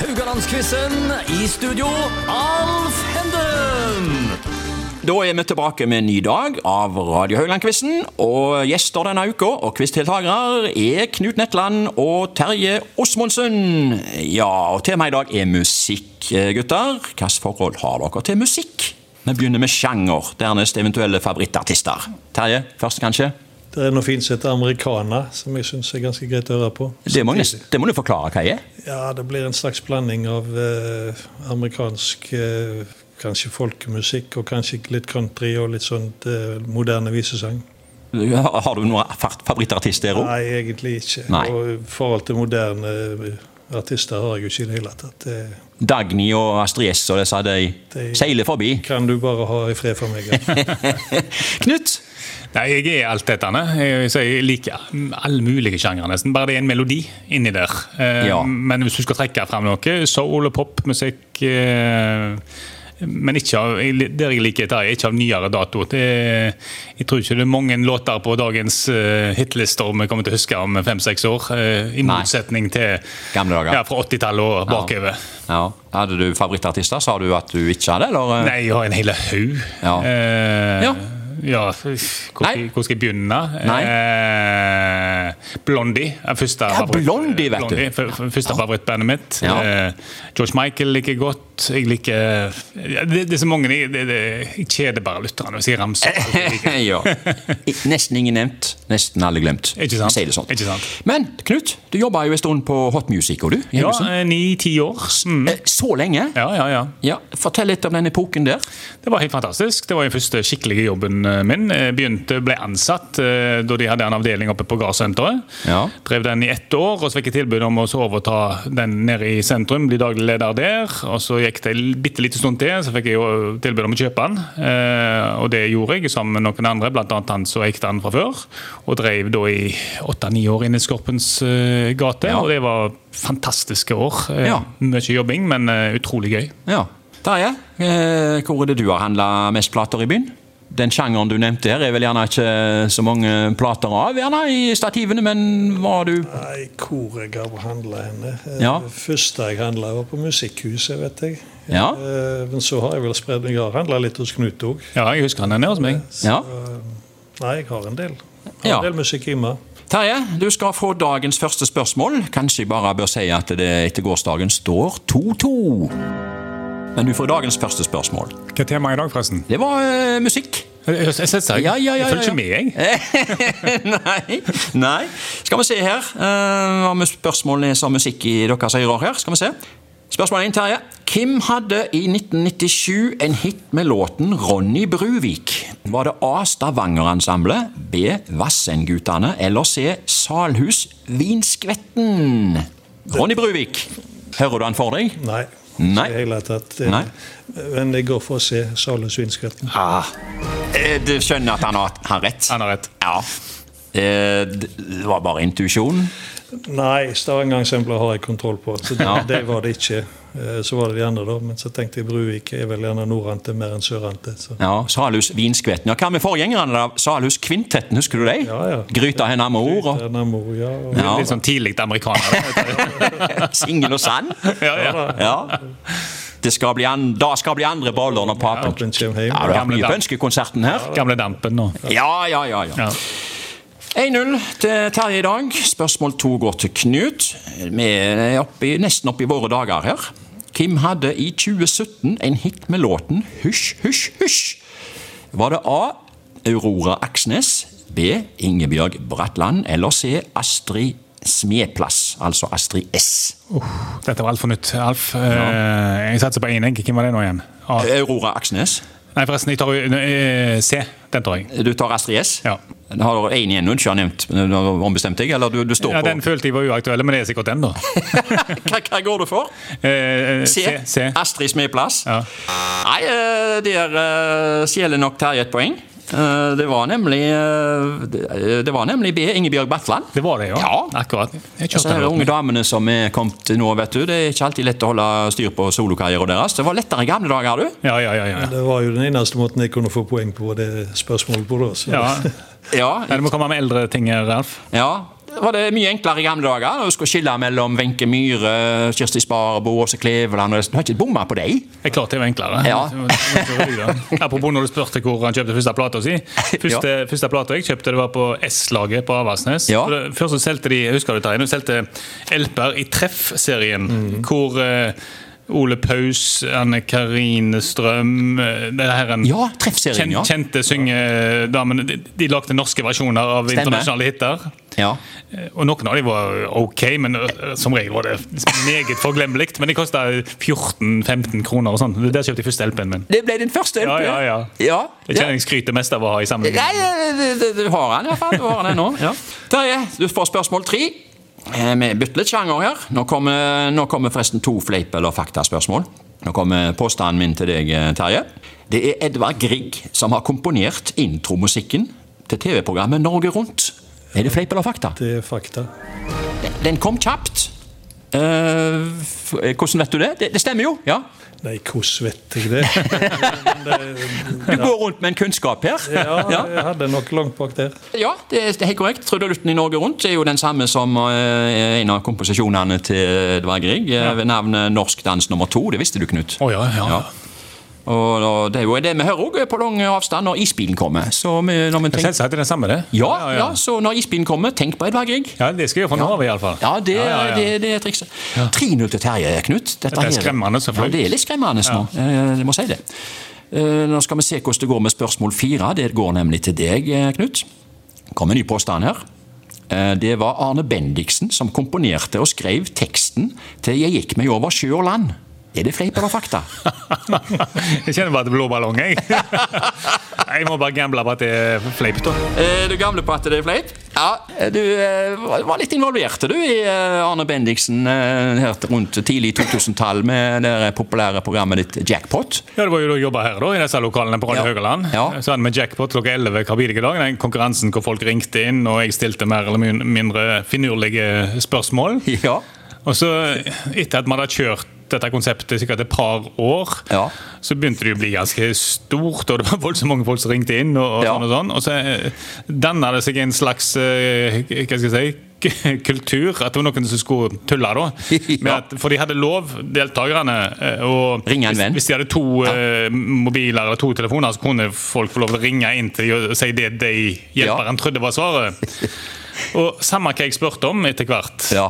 Rogalandsquizen. I studio, Alf Henden. Da er vi tilbake med en ny dag av Radio Haugland-quizen. Og gjester denne uka og quizdeltakere er Knut Netland og Terje Osmondsen. Ja, og temaet i dag er musikk, eh, gutter. Hvilket forhold har dere til musikk? Vi begynner med sjanger, dernest eventuelle favorittartister. Terje først, kanskje? Det er noe fint som heter americana, som jeg syns er ganske greit å høre på. Det må, jeg nest, det må du forklare hva jeg er. Ja, det blir en slags blanding av eh, amerikansk eh, Kanskje folkemusikk og kanskje litt country og litt sånt eh, moderne visesang. Har du noen fa- favorittartister, Ro? Nei, egentlig ikke. Nei. Og i forhold til moderne eh, artister har jeg jo ikke i det hele tatt. eh, Det Dagny og Astrid S og disse, de De- seiler forbi. kan du bare ha i fred for meg. Knut? Nei, jeg er altetende. Jeg, så jeg liker alle mulige sjangre, nesten. Bare det er en melodi inni der. Eh, Ja. Men hvis du skal trekke fram noe, soul og popmusikk eh, Men ikke av, jeg- der jeg liker Terje, ikke av nyere dato. Det, er- jeg tror ikke det er mange låter på dagens eh, hitlister vi kommer til å huske om fem-seks år. eh, I Nei. motsetning til Gamle dager. Ja, fra 80-tallet og bakover. Ja. Hadde du favorittartister? Sa du at du ikke hadde, eller? Nei, jeg har en hel haug. Ja. Eh, Ja. ja, f- hvor, Nei. skal, hvor skal jeg begynne? Nei. Eh, Blondie er første Ja, Blondie, vet du. Blondie, f- f- første favorittbandet mitt. Ja. Eh, George Michael liker jeg godt. Jeg liker ja, det, det er så mange Jeg, det, det, jeg kjeder bare lytterne hvis jeg ramser opp alt jeg liker. ja. I- Nesten ingen nevnt, nesten alle glemt. Ikke sant? Si det sånn. Ikke sant? Men Knut, du jobba jo en stund på Hot Music, og du? i Ja, Haugesund. eh, ni-ti år. Mm. Eh, Så lenge? Ja, ja, ja. Ja, Fortell litt om den epoken der. Det var helt fantastisk. Det var den første skikkelige jobben eh, min. Jeg Begynte, ble ansatt eh, da de hadde en avdeling oppe på gardssenteret. Ja. Drev den i ett år, og så fikk jeg tilbud om å så overta den nede i sentrum. Bli daglig leder der. Og så gikk det en bitte liten stund til, så fikk jeg jo tilbud om å kjøpe den. Eh, Og det gjorde jeg sammen med noen andre, bl.a. han som eide den fra før. Og drev da i åtte-ni år inne i Skorpens eh, gate. Ja. Og det var fantastiske år. Eh, Ja. Mye jobbing, men eh, utrolig gøy. Ja. Terje, eh, hvor er det du har handla mest plater i byen? Den sjangeren du nevnte her, er vel gjerne ikke så mange plater av gjerne i stativene, men var du Nei, hvor jeg har handla henne. Eh, Ja. Det første jeg handla, var på Musikkhuset, vet jeg. Ja. Eh, Men så har jeg vel spredd Jeg har handla litt hos Knut òg. Ja, jeg husker han er nede hos meg. Ja. Nei, jeg har en del. Jeg har Ja. en del musikk hjemme. Terje, du skal få dagens første spørsmål. Kanskje jeg bare bør si at det etter gårsdagen står 2-2. Men du får dagens første spørsmål. Hva er temaet i dag, forresten? Det var eh, musikk. Jeg, jeg, jeg, setter seg. Ja, ja, ja, jeg ja, ja. følger ikke med, jeg. nei, nei. Skal vi se her eh, om spørsmålene er som musikk i deres ører her. Skal vi se. Spørsmål 1, Terje. Kim hadde i 1997 en hit med låten 'Ronny Bruvik'? Var det A. Stavangerensemblet, B. Vassendgutane eller C. Salhus Vinskvetten? Ronny Bruvik. Hører du han for deg? Nei. Nei. I det hele tatt. Nei. Men jeg går for å se Salen Svinskvetten. Ah. Eh, Du skjønner at han har, har rett? Han har rett. Ja. Eh, Det var bare intuisjon. Nei, Stavanger-ensemblet har jeg kontroll på, så det, Ja. det var det ikke. Eh, Så var det de andre, da. Men så tenkte jeg Bruvik er vel gjerne nordante mer enn sørante. Så. Ja, Salhus Vinskvetten. Ja, hva med forgjengerne? da? Salhus Kvintetten, husker du dem? Ja, ja. Gryta henne med ord og Renamo, ja, og, Ja. Litt sånn tidlig amerikaner. Singel og sand. ja, ja. Ja. Det skal bli an da skal bli andre boller når papen Papen kommer hjem. Ja, du har vært Gamle mye på dag. ønskekonserten her. Gamle dampen nå. Ja, ja, ja. ja. Ja. 1-0 til Terje i dag. Spørsmål to går til Knut. Vi er oppe i- nesten oppe i våre dager her. Kim hadde i 2017 en hit med låten 'Hysj, hysj, hysj'. Var det A. Aurora Aksnes, B. Ingebjørg Bratland eller C. Astrid Smeplass, altså Astrid S. Dette var alt for nytt. Alf, eh, jeg satser på én egg. Hvem var det nå igjen? A. Aurora Aksnes. Nei, forresten, jeg tar jo eh, C. Den tar jeg. Du tar Astrid S? Ja. Da Har du én igjen du ikke har nevnt? Du har Ombestemt deg, eller du, du står Ja, på den følte jeg var uaktuell, men det er sikkert den, da. hva, hva går du for? Eh, C. C. C. Astrid Smeplass. Ja. Nei, eh, der eh, stjeler nok Terje et poeng. Eh, Det var nemlig eh, Det eh, det var nemlig B. Ingebjørg Batland. Det var det, ja. Ja. Akkurat. Jeg Disse kjørte her den. unge damene som er kommet til nå, vet du. Det er ikke alltid lett å holde styr på solokarrieren deres. Det var lettere i gamle dager, du. Ja, ja, ja. ja. Det var jo den eneste måten jeg kunne få poeng på det spørsmålet på da. Så. ja. Ja. Nei, du må komme med eldre ting her, Alf. ja. var det mye enklere i gamle dager. Du skulle skille mellom Wenche Myhre, Kirsti Sparbo, Åse Kleveland og Du har ikke bomma på dem? Det er klart det var enklere. Ja. Det var- det var ikke det. Apropos når du spurte hvor han kjøpte første plata si. Første, første plata jeg kjøpte, det var på S-laget på Avaldsnes. Ja. For det- Først så solgte de husker du Terje, de solgte LP-er i Treff-serien, Mhm. hvor eh, Ole Paus, Anne Karine Strøm eh, det her en Ja, treffserien, kjen, ja. Kjente syngedamene. De, de lagde norske versjoner av Stemmer. internasjonale hiter. ja. Eh, Og noen av dem var ok, men eh, som regel var det meget forglemmelig. Men de kosta 14-15 kroner og sånn. Der kjøpte jeg først LP-en min. Det ble din første LP? Ja, ja, ja. ja. Jeg kjenner jeg skryter mest av å ha i Nei, sammenheng. du, du, du har den i hvert fall. Du har den nå. Ja. Terje, du får spørsmål tre. Eh, Vi bytter litt sjanger her. Nå kommer, nå kommer forresten to fleip- eller faktaspørsmål. Nå kommer påstanden min til deg, eh, Terje. Det er Edvard Grieg som har komponert intromusikken til TV-programmet Norge Rundt. Er det fleip eller fakta? Det er fakta. Den kom kjapt. Eh, f- eh, hvordan vet du det? det? Det stemmer jo. ja. Nei, hvordan vet jeg det? Du går rundt med en kunnskap her. Ja, jeg hadde nok langt bak der. Ja, det er, det er helt korrekt. Trudelutten i Norge Rundt er jo den samme som eh, en av komposisjonene til Edvard Grieg. eh, Ved navnet Norsk dans nummer to. Det visste du, Knut. Å, ja, ja. Ja. Og, og det er jo det vi hører òg på lang avstand når isbilen kommer. Så vi, når vi tenker, Selvsagt er det samme, det. ja, ja, så når isbilen kommer, tenk på Edvard Grieg. Ja, Det skal jeg gjøre fra nå av, iallfall. Ja, det, ja, ja. det, det er trikset. 3-0 til Terje, Knut. Dette er her- skremmende, selvfølgelig. Ja, det er litt skremmende nå. Eh, Jeg må si det. Eh, Nå skal vi se hvordan det går med spørsmål fire. Det går nemlig til deg, eh, Knut. kom en ny påstand her. Eh, Det var Arne Bendiksen som komponerte og skrev teksten til 'Jeg gikk meg over sjø og land'. Er det fleip eller fakta? jeg kjenner bare at det blå ballong, jeg. jeg må bare gamble på at det er fleip, da. Eh, Du gamle på at det er fleip? Ja, eh, du eh, var- var litt involvert du i eh, Arne Bendiksen eh, her til- rundt tidlig 2000-tall med det der populære programmet ditt Jackpot. Ja, Det var jo da jeg jobba her, da, i disse lokalene på Radio Ja. Høgaland. Ja. Så hadde vi jackpot klokka 11 hver bidige dag. Den konkurransen hvor folk ringte inn, og jeg stilte mer eller min- mindre finurlige spørsmål. Ja. Og så, etter at man hadde kjørt dette konseptet sikkert et par år, Ja. så begynte det å bli ganske stort, og det var voldsomt mange folk som ringte inn. Og, og Ja. sånn og sånn. Og så eh, danna det seg en slags eh, hva skal jeg si, k- kultur. At det var noen som skulle tulle, da. Med Ja. at, for de hadde lov, deltakerne, eh, å Ringe en hvis- venn. Hvis de hadde to eh, mobiler eller to telefoner, så kunne folk få lov til å ringe inn til de og si det de hjelperen trodde var svaret. Og samme hva jeg spurte om etter hvert, Ja.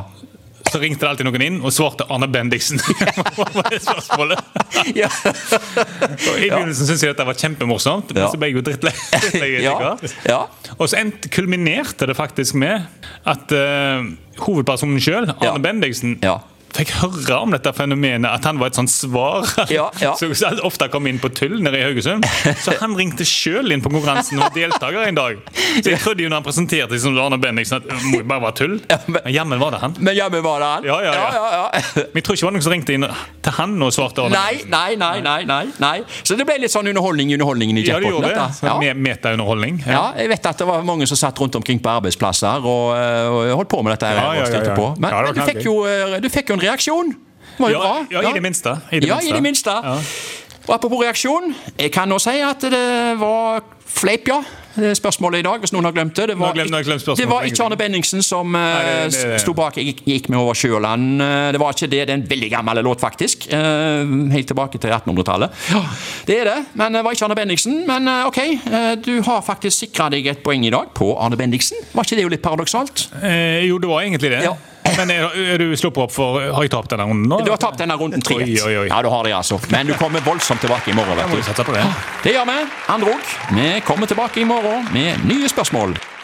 så ringte det alltid noen inn og svarte Arne Bendiksen. Hva var det spørsmålet? ja. Og I begynnelsen syntes jeg dette var kjempemorsomt, men Ja. så ble jeg jo drittlei. drittlei etter ja. hvert. ja. Og så endte, kulminerte det faktisk med at eh, hovedpersonen sjøl, Arne Ja. Bendiksen, Ja. Fikk høre om dette fenomenet, at han var et sånt svar Ja, ja. som som ofte kom inn på tull nede i Haugesund. Så han ringte sjøl inn på konkurransen og var deltaker en dag. Så jeg trodde jo når han presenterte seg som Arne Bendiksen, at det må jo bare være tull. Ja, men- Men jammen var det han. Men jammen var det han. Ja, ja, ja. ja, ja. Men jeg tror ikke det var noen som ringte inn til han og svarte Arne. Nei, nei, nei, nei, nei, nei. Så det ble litt sånn underholdning i underholdningen i Ja, de jackpoten. gjorde det. dette. Sånn med Metaunderholdning. Ja, jeg vet at det var mange som satt rundt omkring på arbeidsplasser og, eh, og holdt på med dette. her Ja, ja, og stilte ja, ja. på. Men, Ja, det men var du, fikk knallgøy. jo, eh, du fikk jo en reaksjon. Det var jo Ja, bra. ja, i det minste. I det ja, minste. i det minste. Ja. Og Apropos reaksjon, jeg kan nå si at det var fleip, ja. Det er spørsmålet i dag, hvis noen har glemt det. Det var, Nå glem- nå glem spørsmålet. det var ikke Arne Benningsen som Nei, eh, det- det- sto bak 'Jeg gikk med over Sjøland'. Eh, Det var ikke det. Det er en veldig gammel låt, faktisk. Eh, Helt tilbake til 1800-tallet. Ja, det er det, men det var ikke Arne Bendiksen. Men eh, OK, eh, du har faktisk sikra deg et poeng i dag på Arne Bendiksen. Var ikke det jo litt paradoksalt? Eh, jo, det var egentlig det. Ja. Men er, er du sluppet opp for Har jeg tapt denne runden nå? Du har tapt denne runden 3-1. Oi, oi, oi. Ja, du har det, altså. Men du kommer voldsomt tilbake i morgen. Jeg må vet du. jo satse på det. Det gjør vi. Andre òg. Vi kommer tilbake i morgen med nye spørsmål.